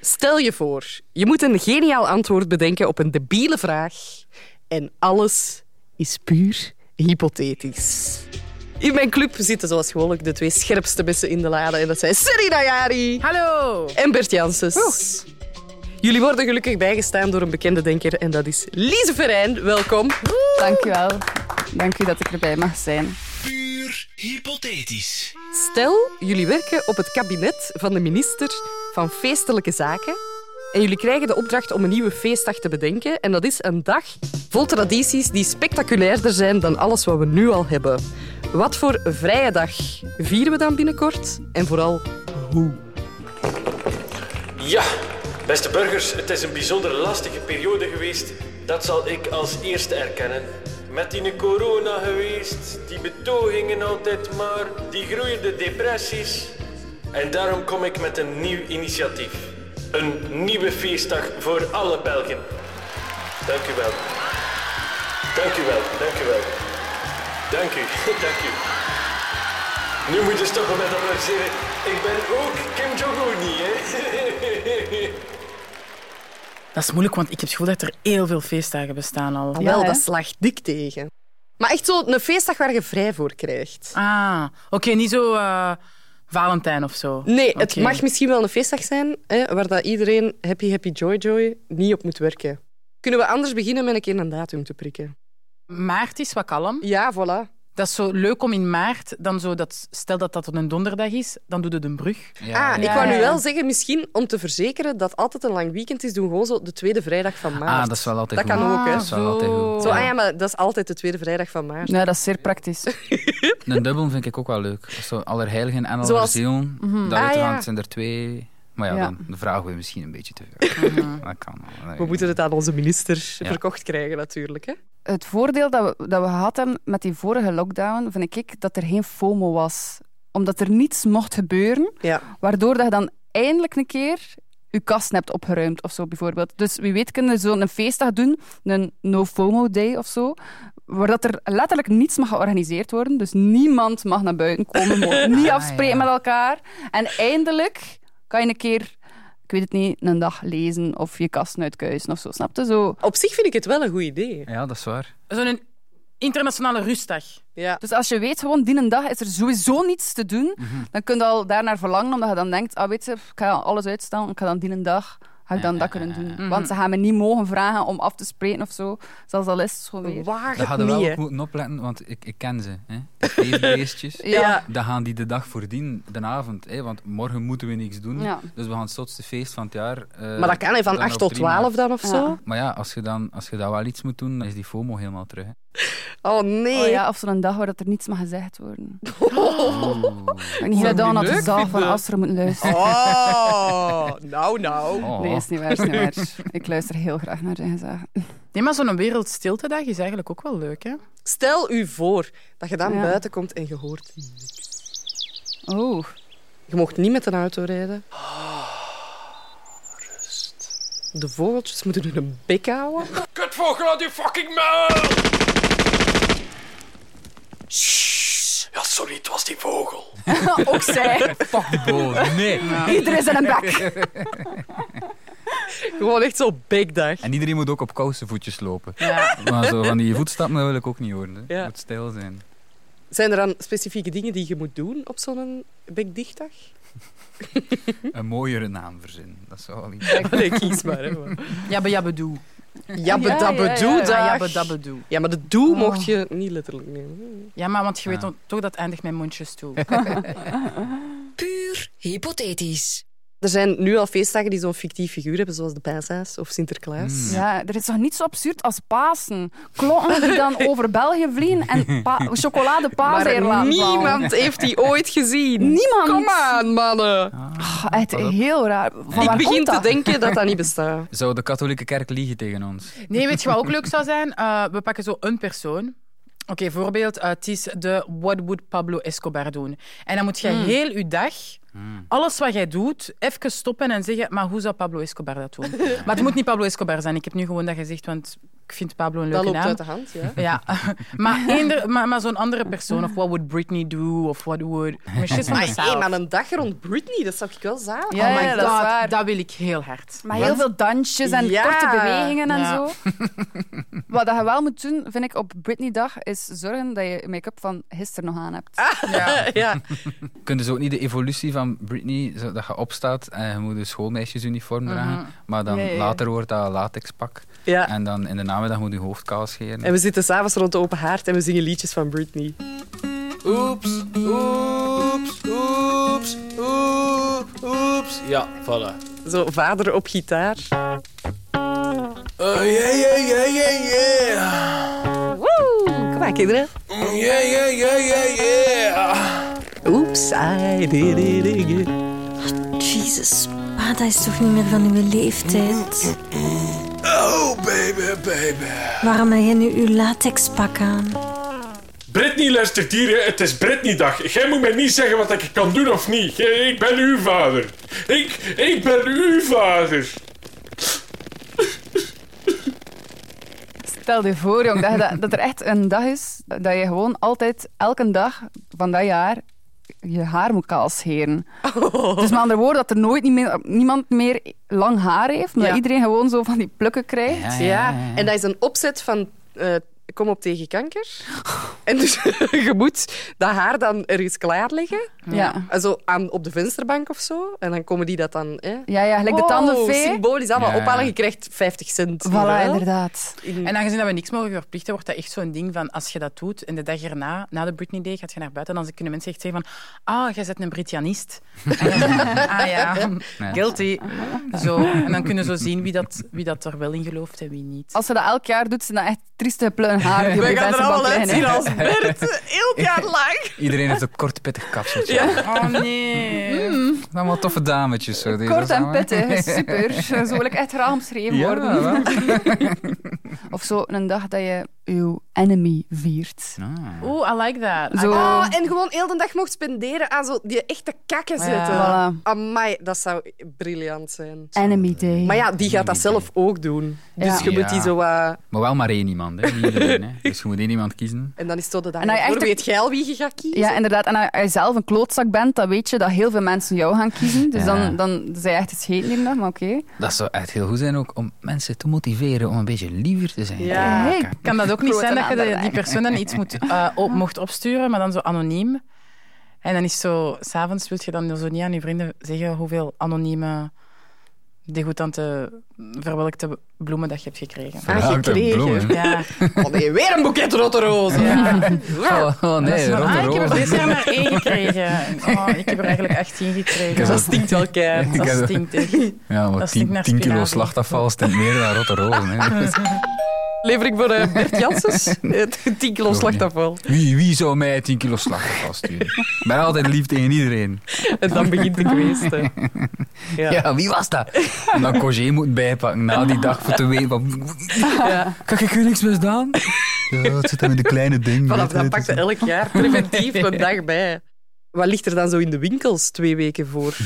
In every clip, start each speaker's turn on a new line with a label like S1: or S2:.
S1: Stel je voor, je moet een geniaal antwoord bedenken op een debiele vraag. En alles is puur hypothetisch. In mijn club zitten zoals gewoonlijk de twee scherpste mensen in de lade. En dat zijn Serena Jari
S2: Hallo!
S1: en Bert Janssens. Jullie worden gelukkig bijgestaan door een bekende denker. En dat is Lise Verijn. Welkom.
S2: Dank u wel. Dank u dat ik erbij mag zijn.
S3: Puur hypothetisch.
S1: Stel, jullie werken op het kabinet van de minister van Feestelijke Zaken. En jullie krijgen de opdracht om een nieuwe feestdag te bedenken. En dat is een dag vol tradities die spectaculairder zijn dan alles wat we nu al hebben. Wat voor vrije dag vieren we dan binnenkort? En vooral,
S4: Ja, beste burgers, het is een bijzonder lastige periode geweest. Dat zal ik als eerste erkennen. Met die corona geweest, die betogingen altijd maar, die groeiende depressies. En daarom kom ik met een nieuw initiatief. Een nieuwe feestdag voor alle Belgen. Dank u wel. Dank u wel, dank u wel. Dank u, dank u. Nu moet je stoppen met applaudisseren. Ik ben ook Kim Jong-un, niet, hè?
S5: Dat is moeilijk, want ik heb het gevoel dat er heel veel feestdagen bestaan al.
S2: Ja,
S1: Ah, wel,
S2: hè?
S1: dat slaagt dik tegen. Maar echt zo'n feestdag waar je vrij voor krijgt.
S5: Ah, oké, niet zo eh, Valentijn of zo.
S1: Nee, het
S5: Oké.
S1: mag misschien wel een feestdag zijn hè, waar dat iedereen happy, happy, joy, joy niet op moet werken. Kunnen we anders beginnen met een keer een datum te prikken?
S5: Maart is wat kalm.
S1: Ja, voilà.
S5: Dat is zo leuk om in maart, dan zo dat, stel dat dat op een donderdag is, dan doe je de brug.
S1: ah, ik
S5: Ja,
S1: wou nu
S5: ja.
S1: wel zeggen, misschien om te verzekeren dat altijd een lang weekend is, doen we gewoon zo de tweede vrijdag van maart.
S6: Ah, dat is wel altijd
S1: Dat
S6: goed.
S1: kan ook, hè.
S6: Dat is wel altijd goed.
S1: Zo, ah ja, maar dat is altijd de tweede vrijdag van maart.
S2: Nou, dat is zeer praktisch.
S6: Een dubbel vind ik ook wel leuk. Zo allerheiligen en
S1: Zoals-
S6: allerzielen. Dat
S1: Ah,
S6: uiteraard
S1: ja.
S6: zijn er twee. Maar ja,
S2: Ja.
S6: dan dan vragen we misschien een beetje te veel. dat kan wel.
S1: Mhm. We moeten het aan onze minister
S6: Ja.
S1: verkocht krijgen, natuurlijk. Hè?
S2: Het voordeel dat we, dat we gehad hebben met die vorige lockdown, vind ik, dat er geen FOMO was. Omdat er niets mocht gebeuren,
S1: Ja.
S2: waardoor dat je dan eindelijk een keer je kast hebt opgeruimd of zo, bijvoorbeeld. Dus wie weet kunnen we zo'n feestdag doen, een no-FOMO-day of zo, waar dat er letterlijk niets mag georganiseerd worden. Dus niemand mag naar buiten komen, mag niet
S6: Ah,
S2: afspreken
S6: ja.
S2: met elkaar. En eindelijk kan je een keer, ik weet het niet, een dag lezen of je kast uitkuisen of zo, snap je? Zo.
S1: Op zich vind ik het wel een goed idee.
S6: Ja, dat is waar.
S5: Zo'n internationale rustdag.
S1: Ja.
S2: Dus als je weet, gewoon die een dag is er sowieso niets te doen,
S1: Mhm.
S2: dan kun je al daarnaar verlangen, omdat je dan denkt, ah weet je, ik ga alles uitstellen, ik ga dan die een dag, ga ik dan dat kunnen doen. Want ze gaan me niet mogen vragen om af te spreken of zo, zelfs al is het gewoon weer.
S1: Waar
S6: Dat
S1: het
S6: hadden we
S1: niet,
S6: wel
S1: hè.
S6: op moeten opletten, want ik, ik ken ze. Hè. De feestbeestjes.
S2: Ja.
S6: Dan gaan die de dag voordien, de avond. Hè, want morgen moeten we niks doen.
S2: Ja.
S6: Dus we gaan het zotste feest van het jaar. eh,
S1: Maar dat kan hè, van
S6: dan
S1: 8
S6: op
S1: tot
S6: 3 maart.
S1: 12 dan of zo.
S6: Maar ja, als je, dan, als je dan wel iets moet doen, dan is die FOMO helemaal terug. Hè.
S1: Oh nee.
S2: Oh ja, of zo'n dag waar dat er niets mag gezegd worden.
S6: Oeh.
S2: Ik niet dat dan
S1: niet
S2: naar de
S1: Oh. leuk
S2: zaal van
S1: vinden?
S2: Astro moeten luisteren.
S1: Oh, nou, nou.
S6: Oh.
S2: Nee, is niet waar, is niet waar. Ik luister heel graag naar zijn gezag.
S5: Nee, maar zo'n wereldstilte-dag is eigenlijk ook wel leuk, hè?
S1: Stel u voor dat je dan
S2: Ja.
S1: buiten komt en je hoort niks.
S2: Oh,
S1: Je mocht niet met een auto rijden. Ah, De vogeltjes moeten hun bek houden.
S4: Kutvogel aan die fucking muil! Ja, sorry, het was die vogel.
S2: ook zij.
S6: Fuck de boot. Nee.
S2: Iedereen zijn een bek.
S1: Gewoon echt zo'n bekdag.
S6: En iedereen moet ook op kousenvoetjes voetjes lopen.
S5: Ja.
S6: Maar zo van die voetstappen dat wil ik ook niet horen. Hè.
S1: Ja.
S6: Moet stijl zijn.
S1: Zijn er dan specifieke dingen die je moet doen op zo'n bekdichtdag?
S6: Een mooiere naam verzinnen. Dat zou wel iets.
S1: Nee, kies maar. Hè,
S5: Jabbedabedoe.
S1: Jabbe
S2: Ja,
S1: dabbe
S2: ja,
S1: doe
S2: ja.
S1: dag.
S5: Ah, jabbedabedoe.
S1: Ja, maar de doe
S2: Oh.
S1: mocht je niet letterlijk nemen.
S5: Ja, maar want je weet
S6: Ah.
S5: toch dat het eindigt met mondjes toe.
S7: Puur hypothetisch.
S1: Er zijn nu al feestdagen die zo'n fictief figuur hebben, zoals de Paashaas of Sinterklaas.
S6: Mm.
S2: Ja, er is toch niet zo absurd als Pasen? Klokken die dan over België vliegen en pa- chocoladepaas
S1: Maar
S2: hier laten vallen.
S1: niemand heeft die ooit gezien.
S2: Niemand.
S1: Kom aan, mannen.
S2: Ah, echt heel raar. Van
S1: Ik
S2: waar
S1: begin
S2: komt
S1: te
S2: dat?
S1: denken dat dat niet bestaat.
S6: Zou de katholieke kerk liegen tegen ons?
S5: Nee, weet je wat ook leuk zou zijn? Eh, we pakken zo een persoon. Oké, voorbeeld, eh, het is de What Would Pablo Escobar doen? En dan moet jij heel je dag, alles wat jij doet, even stoppen en zeggen, maar hoe zou Pablo Escobar dat doen? Maar het moet niet Pablo Escobar zijn. Ik heb nu gewoon dat gezegd, want ik vind Pablo een
S1: Dat loopt
S5: leuke naam.
S1: uit de hand, ja.
S5: Ja, maar, eender- maar, maar zo'n andere persoon. Of what would Britney do? Of what would... Maar shit van
S1: Maar hey,
S5: mezelf.
S1: maar een dag rond Britney, dat zou ik wel zalig
S2: Ja,
S5: oh my
S2: ja, dat is
S5: god,
S2: waar.
S5: dat wil ik heel hard.
S2: Maar heel veel dansjes en
S1: Ja.
S2: korte bewegingen en
S5: Ja.
S2: zo. Wat dat je wel moet doen, vind ik, op Britney-dag, is zorgen dat je make-up van gisteren nog aan hebt.
S1: Ja. ja.
S6: Kunnen ze ook niet de evolutie van Britney, zo dat je opstaat en je moet een schoolmeisjesuniform dragen, maar dan
S2: Nee.
S6: later wordt dat een latexpak en dan in de namiddag moet je hoofd kaal scheren.
S1: Ah. En we zitten s'avonds rond de open haard en we zingen liedjes van Britney.
S4: Oeps, oeps, oeps, oep, oeps. Ja, voilà.
S1: Zo vader op gitaar.
S4: Oh, yeah, yeah, yeah, yeah, yeah.
S1: Woe! Kom maar, kinderen.
S4: Mm, Yeah, yeah, yeah, yeah, yeah.
S1: Oeps, I did it again.
S7: Jezus, pa, dat is toch niet meer van uw leeftijd?
S4: Oh, baby, baby.
S7: Waarom heb je nu uw latexpak aan?
S8: Britney, luister dieren, het is Britney-dag. Jij moet mij niet zeggen wat ik kan doen of niet. Jij- Ik ben uw vader. Ik, ik ben uw vader.
S2: Stel je voor, jong, dat, je dat, dat er echt een dag is dat je gewoon altijd, elke dag van dat jaar, je haar moet kaal scheren.
S1: Oh.
S2: Dus met andere woorden, dat er nooit niet meer, niemand meer lang haar heeft, maar
S1: Ja.
S2: dat iedereen gewoon zo van die plukken krijgt.
S1: Ja, en dat is een opzet van eh, Kom op tegen kanker. En dus je moet dat haar dan ergens klaar leggen.
S2: Ja.
S1: En Zo aan, op de vensterbank of zo. En dan komen die dat dan... Hè?
S2: Ja, ja, gelijk de
S1: Wow,
S2: tandenvee.
S1: symbolisch allemaal
S6: Ja, ja.
S1: ophalen. Je krijgt 50 cent.
S2: Voilà, inderdaad.
S1: Hm.
S5: En aangezien dat we niks mogen verplichten, wordt dat echt zo'n ding van als je dat doet en de dag erna, na de Britney Day, gaat je naar buiten, dan kunnen mensen echt zeggen van ah, jij bent een Britianist. ah ja, guilty. Zo. En dan kunnen ze zo zien wie dat, wie dat er wel in gelooft en wie niet.
S2: Als ze dat elk jaar doet, zijn dat echt trieste plukken haar. die
S1: We
S2: op die
S1: gaan er
S2: vensterbank
S1: allemaal
S2: liggen, hè.
S1: uitzien als Bert. Heel jaar lang.
S6: Iedereen heeft een kort pittig kapseltje.
S5: Oh nee.
S6: Allemaal toffe dametjes. Zo, deze
S2: Kort en
S6: samen.
S2: pittig, super. Zo wil ik echt graag omschreven
S6: Ja,
S2: worden.
S6: wel.
S2: Of zo een dag dat je uw enemy viert.
S6: Ah.
S5: Oeh, I like that.
S2: Zo.
S1: Ah, en gewoon heel de dag mocht spenderen aan zo die echte kakken
S5: Ja.
S1: zitten.
S2: Ah, Voilà.
S1: Amai, dat zou briljant zijn.
S2: Enemy day.
S1: Maar ja, die gaat dat zelf ook doen. Dus
S2: Ja.
S1: je moet
S6: Ja.
S1: die zo... wat-
S6: Maar wel maar één iemand, hè. Niet iedereen, hè. Dus je moet één iemand kiezen.
S1: en dan is het tot de dag
S2: En hij
S1: ervoor.
S2: echt-
S1: Weet jij al wie je gaat kiezen?
S2: Ja, inderdaad. En als je zelf een klootzak bent, dan weet je dat heel veel mensen jou gaan kiezen. Dus
S6: Ja.
S2: dan, dan zijn je echt het scheet niet maar oké.
S6: Dat zou echt heel goed zijn ook om mensen te motiveren om een beetje liever te zijn.
S1: Ja.
S2: Hey,
S5: Kan dat ook niet
S2: Groot
S5: zijn dat je de-
S2: aandacht.
S5: die persoon dan iets moet, eh, op, mocht opsturen, maar dan zo anoniem? En dan is zo, s'avonds wil je dan zo niet aan je vrienden zeggen hoeveel anonieme, degoutante, verwelkte bloemen dat je hebt gekregen.
S6: Verruikte
S1: gekregen.
S6: bloemen.
S5: Ja.
S1: Oh nee, weer een boeket rotte rozen.
S6: Oh, oh, nee,
S5: Zo van,
S6: rotte
S5: ah, ik heb er
S6: rozen.
S5: dit jaar maar één gekregen. Oh, ik heb er eigenlijk 18 gekregen.
S1: Dat stinkt wel keihard.
S6: Ik heb-
S5: Dat stinkt echt.
S6: Ja,
S5: Dat
S6: maar
S5: stinkt
S6: 10,
S5: naar
S6: 10 kilo
S5: spinazie.
S6: slachtafval stemt meer dan rotte rozen. Hè.
S1: Levering voor eh, Bert Janssens. 10 kilo
S6: niet.
S1: slachtafval.
S6: Wie, wie zou mij 10 kilo slachtafval sturen? Ik ben altijd lief tegen iedereen.
S1: En dan begint de geweest. hè. Ja.
S6: Ja, wie was dat? En dan Cogé moet bijpakken na die dag voor te weten. Van,
S1: Ja.
S6: kan ik u niks misdaan? Ja, dat zit dan in de kleine ding.
S1: Vanaf dat
S6: weet je, het
S1: pakte
S6: is-
S1: elk jaar preventief een dag bij. Wat ligt er dan zo in de winkels twee weken voor?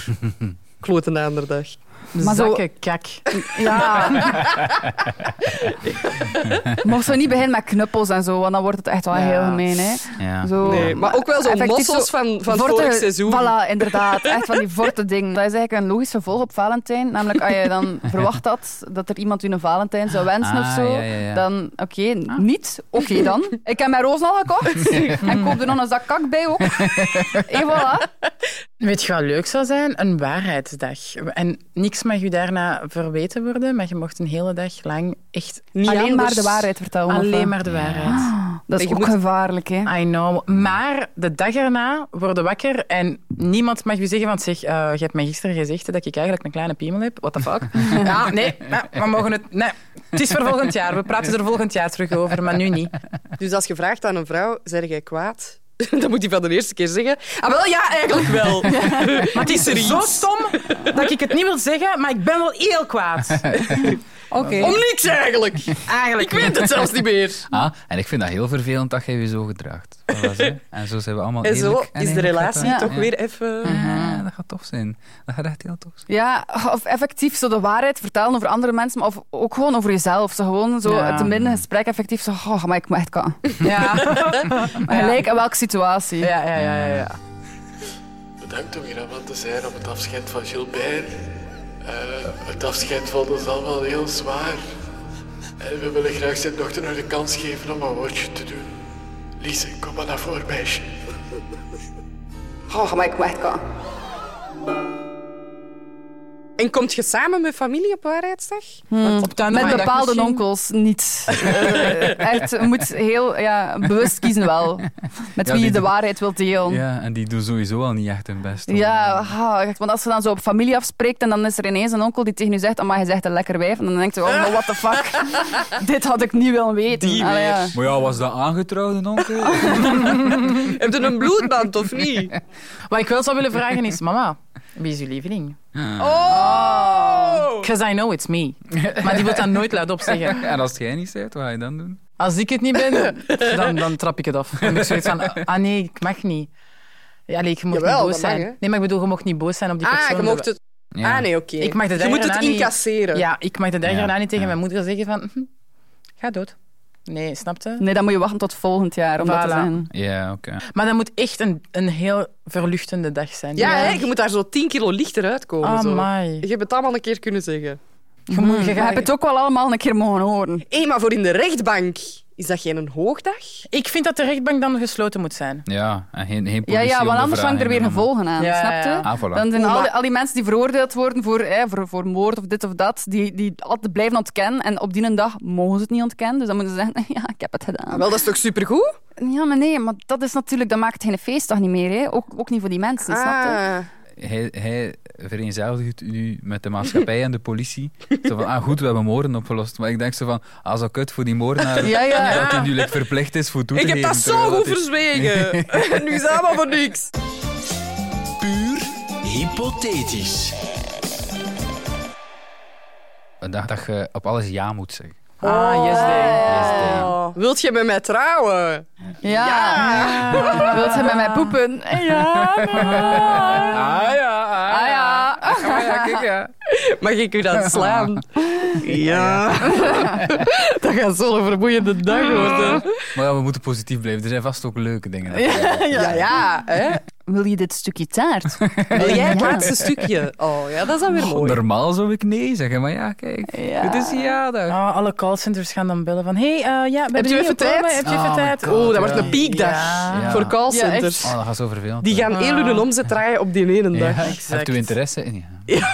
S1: Klotenaanderdag.
S2: Maar zo-
S5: Zakken, kak.
S2: Ja. Mocht zo niet beginnen met knuppels en zo, want dan wordt het echt wel
S5: Ja.
S2: heel gemeen. Hè.
S6: Ja.
S2: Zo,
S1: Nee, maar ook wel zo'n
S2: effectief
S1: mossels
S2: zo-
S1: van, van
S2: Vorte-
S1: vorig seizoen.
S2: Voilà, inderdaad. Echt van die vorte dingen. Dat is eigenlijk een logisch vervolg op Valentijn. Namelijk, als je dan verwacht had dat er iemand u een Valentijn zou wensen
S6: Ah,
S2: of zo,
S6: ja, ja, Ah. ja.
S2: dan oké, niet. Oké dan. Ik heb mijn rozen al gekocht. en koop er nog een zak kak bij ook. En voilà.
S5: Weet je wat leuk zou zijn? Een waarheidsdag. En niks mag u daarna verweten worden, maar je mocht een hele dag lang echt
S1: Niet
S2: Alleen maar
S1: anders.
S2: de waarheid vertellen.
S5: alleen
S2: of- eh.
S5: maar de waarheid.
S2: Dat is
S1: Je
S2: ook
S1: moet- Ah,
S2: gevaarlijk, hè.
S5: I know. Maar de dag erna worden wakker en niemand mag u zeggen, want zeg, eh, je hebt mij gisteren gezegd dat ik eigenlijk een kleine piemel heb. What the fuck? ja, nee, nee, we mogen het... Nee, het is voor volgend jaar. We praten er volgend jaar terug over, maar nu niet.
S1: Dus als je vraagt aan een vrouw, zeg jij kwaad? Dan moet hij van de eerste keer zeggen. Ah, wel ja, eigenlijk wel. Maar het is er iets.
S5: Zo stom dat ik het niet wil zeggen, maar ik ben wel heel kwaad.
S2: Oké.
S1: Om niks eigenlijk. Eigenlijk. Ik weet het zelfs niet meer.
S6: Ah, en ik vind dat heel vervelend dat jij je zo gedraagt. Voilà, zo. En zo zijn we allemaal
S1: En zo
S6: eerlijk
S1: is de
S6: eerlijk
S1: relatie
S6: met elkaar. Ah,
S1: toch weer even.
S6: Ja, dat gaat tof zijn. Dat gaat echt heel tof zijn.
S2: Ja, of effectief zo de waarheid vertellen over andere mensen, maar of ook gewoon over jezelf. Zo gewoon zo
S5: Ja.
S2: het minder gesprek effectief zo, oh, maar ik moet echt kan.
S5: Ja.
S2: Maar gelijk in welke situatie.
S5: Ja, ja, ja, ja.
S9: Bedankt om hier aan te zijn op het afscheid van Gilbert. Eh, het afscheid valt ons allemaal heel zwaar. En we willen graag zijn dochter nog de kans geven om een woordje te doen. Lise, kom maar naar voren, meisje.
S2: Oh, maar ik moet echt kan.
S1: En komt je samen met familie op waarheidsdag?
S5: Hmm. Op tuin-
S2: Met
S5: maar dat
S2: bepaalde
S5: misschien-
S2: onkels niet. Eh, echt, je moet heel ja, bewust kiezen wel. Met
S6: Ja,
S2: wie je
S6: die-
S2: de waarheid wilt delen. Ja.
S6: Ja, en die doen sowieso al niet echt hun best. om-
S2: ah, echt, want als je dan zo op familie afspreekt en dan is er ineens een onkel die tegen je zegt, maar je zegt een lekker wijf. En dan denk je, oh, maar what the fuck. Dit had ik niet willen weten.
S1: Die
S2: Allee, ja.
S6: Maar ja, was dat aangetrouwde onkel?
S1: Heb je een bloedband of niet?
S5: Wat ik wel zou willen vragen is, mama, wie is uw lieveling?
S1: Ah. Oh!
S5: Because I know it's me. Maar die wil dat nooit luidop zeggen.
S6: en als jij niet zegt, wat ga je dan doen?
S5: Als ik het niet ben, dan, dan trap ik het af. Dan heb ik zoiets van, ah nee, ik mag niet. Ja, nee, je mocht
S1: Jawel,
S5: niet boos
S1: dat mag,
S5: zijn.
S1: hè?
S5: nee, maar ik bedoel, je mocht niet boos zijn op die
S1: Ah,
S5: persoon.
S1: je mocht het...
S6: Ja.
S1: Ah, nee, oké.
S5: Ik mag de
S1: Je
S5: dag
S1: moet het
S5: erna niet-
S1: incasseren.
S5: Ja, ik mag de dag
S6: Ja,
S5: erna niet tegen
S6: ja.
S5: mijn moeder zeggen van, hm, ga dood. Nee, snapte?
S1: Hm.
S2: Nee, dan moet je wachten tot volgend jaar om dat te
S5: Voilà.
S2: zeggen.
S6: Ja, oké.
S5: Maar dat moet echt een, een heel verluchtende dag zijn.
S1: Ja, hè, je moet daar zo 10 kilo lichter uitkomen.
S5: Ah,
S1: zo. Hm.
S5: amai.
S1: Je hebt het allemaal een keer kunnen zeggen.
S5: Je moet- je
S2: Je
S5: gaat-
S2: hebt het ook wel allemaal een keer mogen horen.
S1: Hé, maar voor in de rechtbank, is dat geen een hoogdag?
S5: Ik vind dat de rechtbank dan gesloten moet zijn.
S6: Ja, en geen, geen
S2: Ja, ja,
S6: politie
S2: want
S6: om de
S2: anders
S6: vraag
S2: hangt er weer
S6: in te nemen.
S2: gevolgen aan,
S5: Ja,
S2: snap je?
S5: ja, ja.
S6: Ah, voilà.
S2: Dan zijn
S1: Oeh,
S2: al
S1: maar-
S2: die, al die mensen die veroordeeld worden voor, eh, voor, voor moord of dit of dat, die, die altijd blijven ontkennen. En op die een dag mogen ze het niet ontkennen. Dus dan moeten ze zeggen, ja, ik heb het gedaan.
S1: Ah, wel, dat is toch supergoed?
S2: Ja, maar nee, maar dat is natuurlijk, dat maakt geen feestdag niet meer. Hè. Ook, ook niet voor die mensen, snap je?
S1: Ah.
S6: Hij, hij vereenzelvigt nu met de maatschappij en de politie. Zo van, ah goed, we hebben moorden opgelost. Maar ik denk zo van, als dat kut voor die moordenaar...
S2: Ja, ja.
S6: Dat hij nu like, verplicht is voor toe
S1: Ik
S6: te
S1: heb
S6: geven,
S1: dat zo
S6: terwijl
S1: goed
S6: hij-
S1: verzwegen. nu is dat allemaal voor niks.
S3: Puur hypothetisch.
S6: Een dag dat je op alles ja moet zeggen.
S5: Ah, yes,
S1: Oh. Wilt je met mij trouwen?
S2: Ja. Wilt ze met mij poepen? Ja. maar-
S6: Ah ja,
S2: Ah ja.
S1: Mag ik u dan slaan? Ja. dat gaat zo'n vermoeiende dag worden.
S6: Maar ja, we moeten positief blijven. Er zijn vast ook leuke dingen.
S1: Ja, ja. Hè?
S2: Wil je dit stukje taart?
S1: Wil jij het
S2: Ja.
S1: laatste stukje? Oh, ja, dat is dan weer mooi.
S6: Normaal zou ik nee zeggen, maar ja, kijk.
S2: Ja.
S6: Het is ja dag.
S5: Ah, alle callcenters gaan dan bellen van... hey, eh, ja, we hebben
S1: je
S5: hier
S1: even
S5: een promo,
S1: tijd?
S5: Heb je even
S6: Oh my
S5: tijd?
S6: God.
S1: Oh, dat wordt een piekdag
S5: Ja.
S6: Ja.
S1: voor callcenters.
S6: Oh, dat gaat zo vervelend.
S1: Die gaan heel hun omzet draaien op die ene dag.
S6: Ja,
S5: Exact.
S6: Hebt u interesse in? Ja.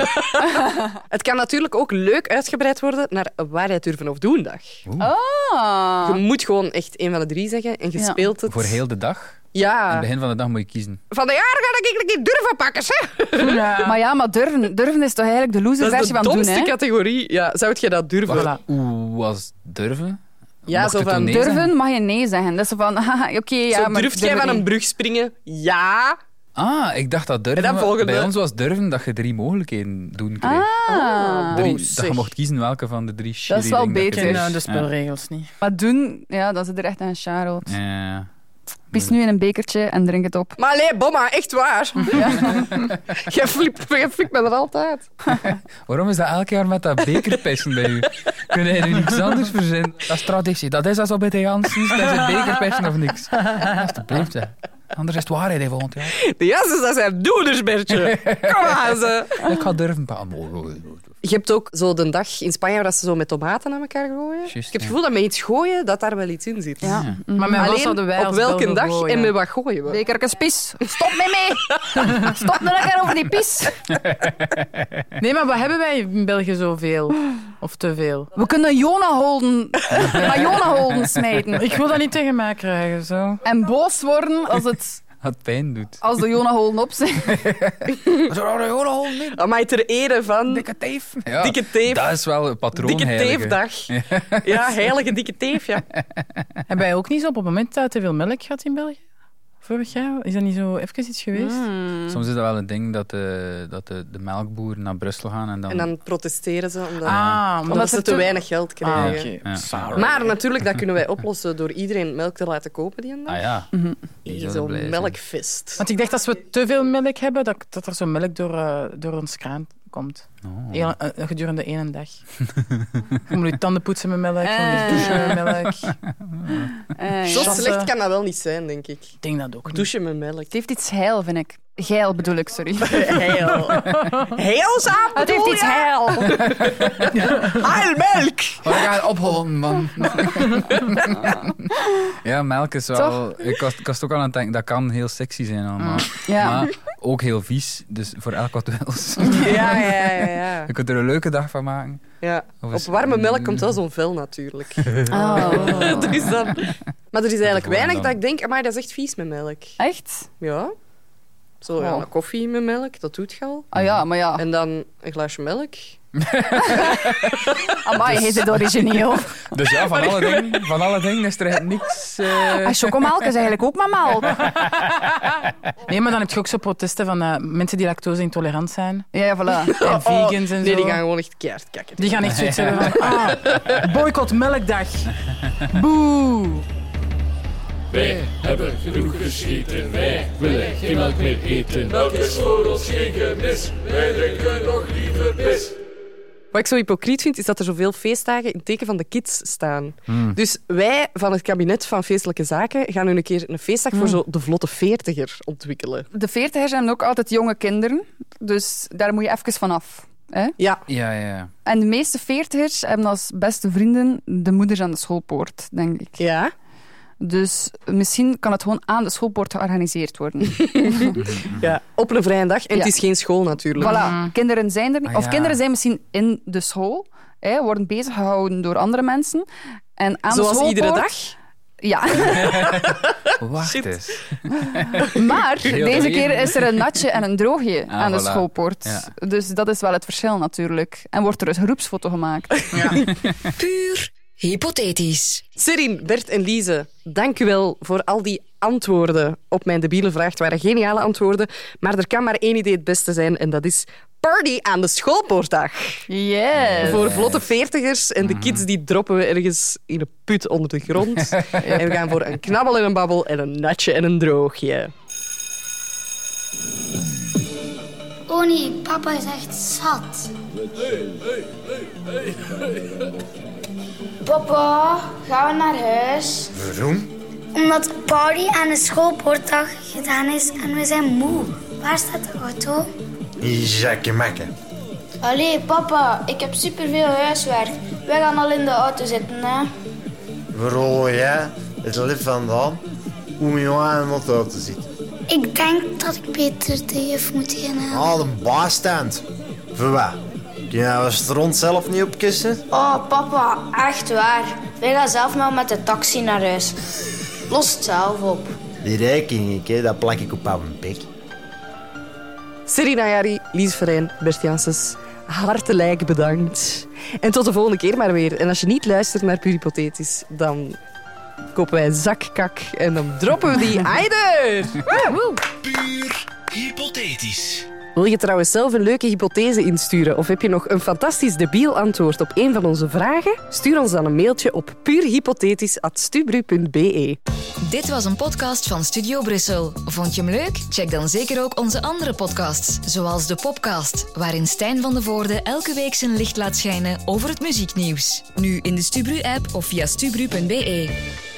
S1: Het kan natuurlijk ook leuk uitgebreid worden naar waarheid durven of doen dag. Je
S2: Ah.
S1: moet gewoon echt een van de drie zeggen en je
S2: Ja.
S1: speelt het.
S6: Voor heel de dag. Aan
S1: Ja,
S6: het begin van de dag moet je kiezen.
S1: van de jaren ga ik eigenlijk niet durven pakken, zeg. Dus
S2: Maar ja, maar durven, durven is toch eigenlijk de loser
S1: Dat is
S2: versie
S1: de
S2: van doen,
S1: domste
S2: hè?
S1: categorie. Ja, zou je dat durven?
S6: Wacht, Oeh, was durven?
S1: Ja,
S6: Mocht
S1: zo
S6: je toen
S1: van,
S6: nee zeggen?
S2: Durven mag je nee zeggen. Dat is zo van, haha, oké, ja,
S1: zo,
S2: maar...
S1: durft jij
S2: durf
S1: van
S2: ik
S1: een
S2: niet.
S1: brug springen? Ja.
S6: Ah, ik dacht dat durven.
S1: En dan volgende.
S6: Bij ons was durven dat je drie mogelijkheden doen kreeg.
S2: Ah,
S6: Drie-
S1: Oh,
S6: dat je
S1: zeg.
S6: mocht kiezen welke van de drie
S2: Dat is wel
S6: shitty dingen
S5: Ik
S6: dat je
S5: ken
S2: beter.
S5: eh,
S6: deed.
S5: de spelregels niet.
S2: maar doen, ja, dat zit er echt aan Charlotte.
S6: Ja. Ja.
S2: Pies nu in een bekertje en drink het op.
S1: Maar nee, bomma, echt waar. jij flipt jij flipt me er altijd.
S6: Waarom is dat elk jaar met dat bekerpissen bij u? Kun je nu niks anders verzinnen? Dat is traditie. Dat is als al bij de Janssens. Dat is het bekerpissen of niks. Alsjeblieft, hè. Anders is het waarheid hè, volgend jaar.
S1: De jassen, dat zijn doeners, Bertje. Kom aan, ze.
S6: Ik ga durven... pa- Oh, oh, oh, oh.
S1: Je hebt ook zo de dag in Spanje waar ze zo met tomaten aan elkaar gooien.
S6: Juist,
S1: ik heb het
S6: ja.
S1: gevoel dat met iets gooien, dat daar wel iets in zit.
S2: Ja.
S5: Maar met wat
S1: Alleen,
S5: zouden wij
S1: op
S5: als
S1: welke
S5: Belgen
S1: dag
S5: gooien?
S1: en met wat gooien we?
S2: Bekerkens pies, stop mee mee! Stop nou lekker over die pies!
S5: Nee, maar wat hebben wij in België zoveel? Of te veel?
S2: We kunnen Jona holden, maar Jona holden smijten.
S5: Ik wil dat niet tegen mij krijgen, zo.
S2: En boos worden als, het,
S6: Wat pijn doet.
S2: als de Jona holden op zijn.
S1: Hm. Amai, ter ere van
S6: Dikke teef. Ja,
S1: dikke teef.
S6: Dat is wel een patroon.
S1: Dikke
S6: heilige.
S1: teefdag. Ja, heilige dikke teef, ja.
S5: Hebben wij ook niet zo op het moment dat te veel melk gehad in België? Vorig jaar? Is dat niet zo even iets geweest?
S6: Soms is dat wel een ding dat de, dat de, de melkboeren naar Brussel gaan en dan...
S1: En dan protesteren ze omdat,
S5: Ah,
S1: omdat
S5: omdat
S1: ze
S5: het
S1: te weinig geld krijgen.
S5: Ah, oké.
S6: Ja.
S5: Sorry.
S1: Maar natuurlijk, dat kunnen wij oplossen door iedereen melk te laten kopen die een dag.
S6: Ah ja. Die
S1: Hier,
S6: zouden
S1: Zo'n
S6: blij zijn.
S1: melkfest.
S5: Want ik dacht als we te veel melk hebben, dat, dat er zo melk door, eh, door ons kraan komt.
S6: Oh.
S5: Heel- eh, gedurende één dag. je moet je tanden poetsen met melk, je moet
S2: Eh.
S5: douchen met melk.
S2: Eh,
S1: Zo
S5: Chassen.
S1: slecht kan dat wel niet zijn, denk ik.
S5: Ik denk dat ook niet.
S1: Douchen met melk.
S2: Het heeft iets heil, vind ik. Geil bedoel ik, sorry.
S1: Heel. Heel zaad
S2: Het heeft iets heil.
S1: melk.
S6: Oh, ik ga het opholen, man. ja, melk is wel... Ik was, ik was ook aan het denken, dat kan heel sexy zijn allemaal.
S1: Mm.
S2: Ja.
S6: Maar ook heel vies, dus voor elk wat wils.
S1: Ja, ja, ja. ja.
S6: Je kunt er een leuke dag van maken.
S1: ja.
S6: Of
S1: Op
S6: is-
S1: warme melk komt wel zo'n vel natuurlijk.
S2: Oh.
S1: Dus dan... Maar er is eigenlijk
S6: Gewoon
S1: weinig
S6: dan.
S1: dat ik denk, maar dat is echt vies met melk.
S2: Echt?
S1: Ja. Zo, ja,
S2: Oh.
S1: een koffie met melk, dat doet je al.
S2: Ah ja, maar ja.
S1: En dan een glaasje melk.
S2: Amai, hij zit origineel.
S6: Dus ja, van alle dingen, van alle dingen is er echt niks... eh,
S2: Ah, Chocomelk is eigenlijk ook maar melk.
S5: Nee, maar dan heb je ook zo protesten van eh, mensen die lactose-intolerant zijn.
S2: Ja, ja, voilà.
S5: En vegans en zo.
S1: Nee, die gaan gewoon echt keihard kakken.
S5: Die gaan echt zoiets hebben van... Ah, boycott melkdag. Boe.
S9: Wij hebben genoeg gescheten, wij willen geen melk meer eten. Melk is voor ons geen gemis, wij drinken nog liever mis.
S1: Wat ik zo hypocriet vind, is dat er zoveel feestdagen in het teken van de kids staan. Dus wij van het kabinet van Feestelijke Zaken gaan nu een keer een feestdag voor zo de vlotte veertiger ontwikkelen.
S2: De veertigers hebben ook altijd jonge kinderen. Dus daar moet je even vanaf. Hè?
S1: Ja,
S6: Ja, ja, ja.
S2: En de meeste veertigers hebben als beste vrienden de moeders aan de schoolpoort, denk ik.
S1: ja.
S2: Dus misschien kan het gewoon aan de schoolpoort georganiseerd worden.
S1: ja. Op een vrije dag. En
S2: Ja.
S1: het is geen school natuurlijk.
S2: Voilà, kinderen zijn er niet.
S6: Ah,
S2: Of
S6: ja.
S2: kinderen zijn misschien in de school, hè, worden bezig gehouden door andere mensen. En aan de
S1: Zoals
S2: schoolpoort,
S1: iedere dag.
S2: Ja,
S6: Wacht eens.
S2: maar
S6: Heel
S2: deze
S6: leven.
S2: keer is er een natje en een droogje
S6: Ah,
S2: aan de
S6: voilà.
S2: schoolpoort.
S6: Ja.
S2: Dus dat is wel het verschil natuurlijk. En wordt er dus een groepsfoto gemaakt.
S10: Puur hypothetisch.
S1: Serin, Bert en Lize, dank u wel voor al die antwoorden op mijn debiele vraag. Het waren geniale antwoorden, maar er kan maar één idee het beste zijn en dat is party aan de schoolpoortdag.
S2: Yes.
S1: Voor vlotte veertigers en de kids die droppen we ergens in een put onder de grond. en we gaan voor een knabbel en een babbel en een natje en een droogje.
S7: Oh nee, papa is echt zat. Papa, gaan we naar huis? Waarom? Omdat party aan de schoolpoortdag gedaan is en we zijn moe. Waar staat de auto?
S3: Jakke makke.
S7: Allee, papa, ik heb superveel huiswerk. Wij gaan al in de auto zitten, hè.
S3: Waarom jij het lip vandaan om je aan een auto te zitten?
S7: Ik denk dat ik beter de juf moet gaan halen.
S3: Ah, een baasstand. Voor wat? Kun je nou een stront zelf niet opkussen?
S7: Oh, papa, echt waar. Wij gaan zelf maar met de taxi naar huis. Los het zelf op.
S3: Die rekening, ik, hè, dat plak ik op mijn bek.
S1: Serena Jari, Lies Verijn, Bert Janssens, hartelijk bedankt. En tot de volgende keer maar weer. En als je niet luistert naar Puur Hypothetisch, dan kopen wij een zakkak en dan droppen we die eider.
S3: Puur hypothetisch.
S1: Wil je trouwens zelf een leuke hypothese insturen of heb je nog een fantastisch debiel antwoord op een van onze vragen? Stuur ons dan een mailtje op puurhypothetisch.stubru.be.
S10: Dit was een podcast van Studio Brussel. Vond je hem leuk? Check dan zeker ook onze andere podcasts, zoals de Popcast, waarin Stijn van de Voorde elke week zijn licht laat schijnen over het muzieknieuws. Nu in de Stubru-app of via stubru.be.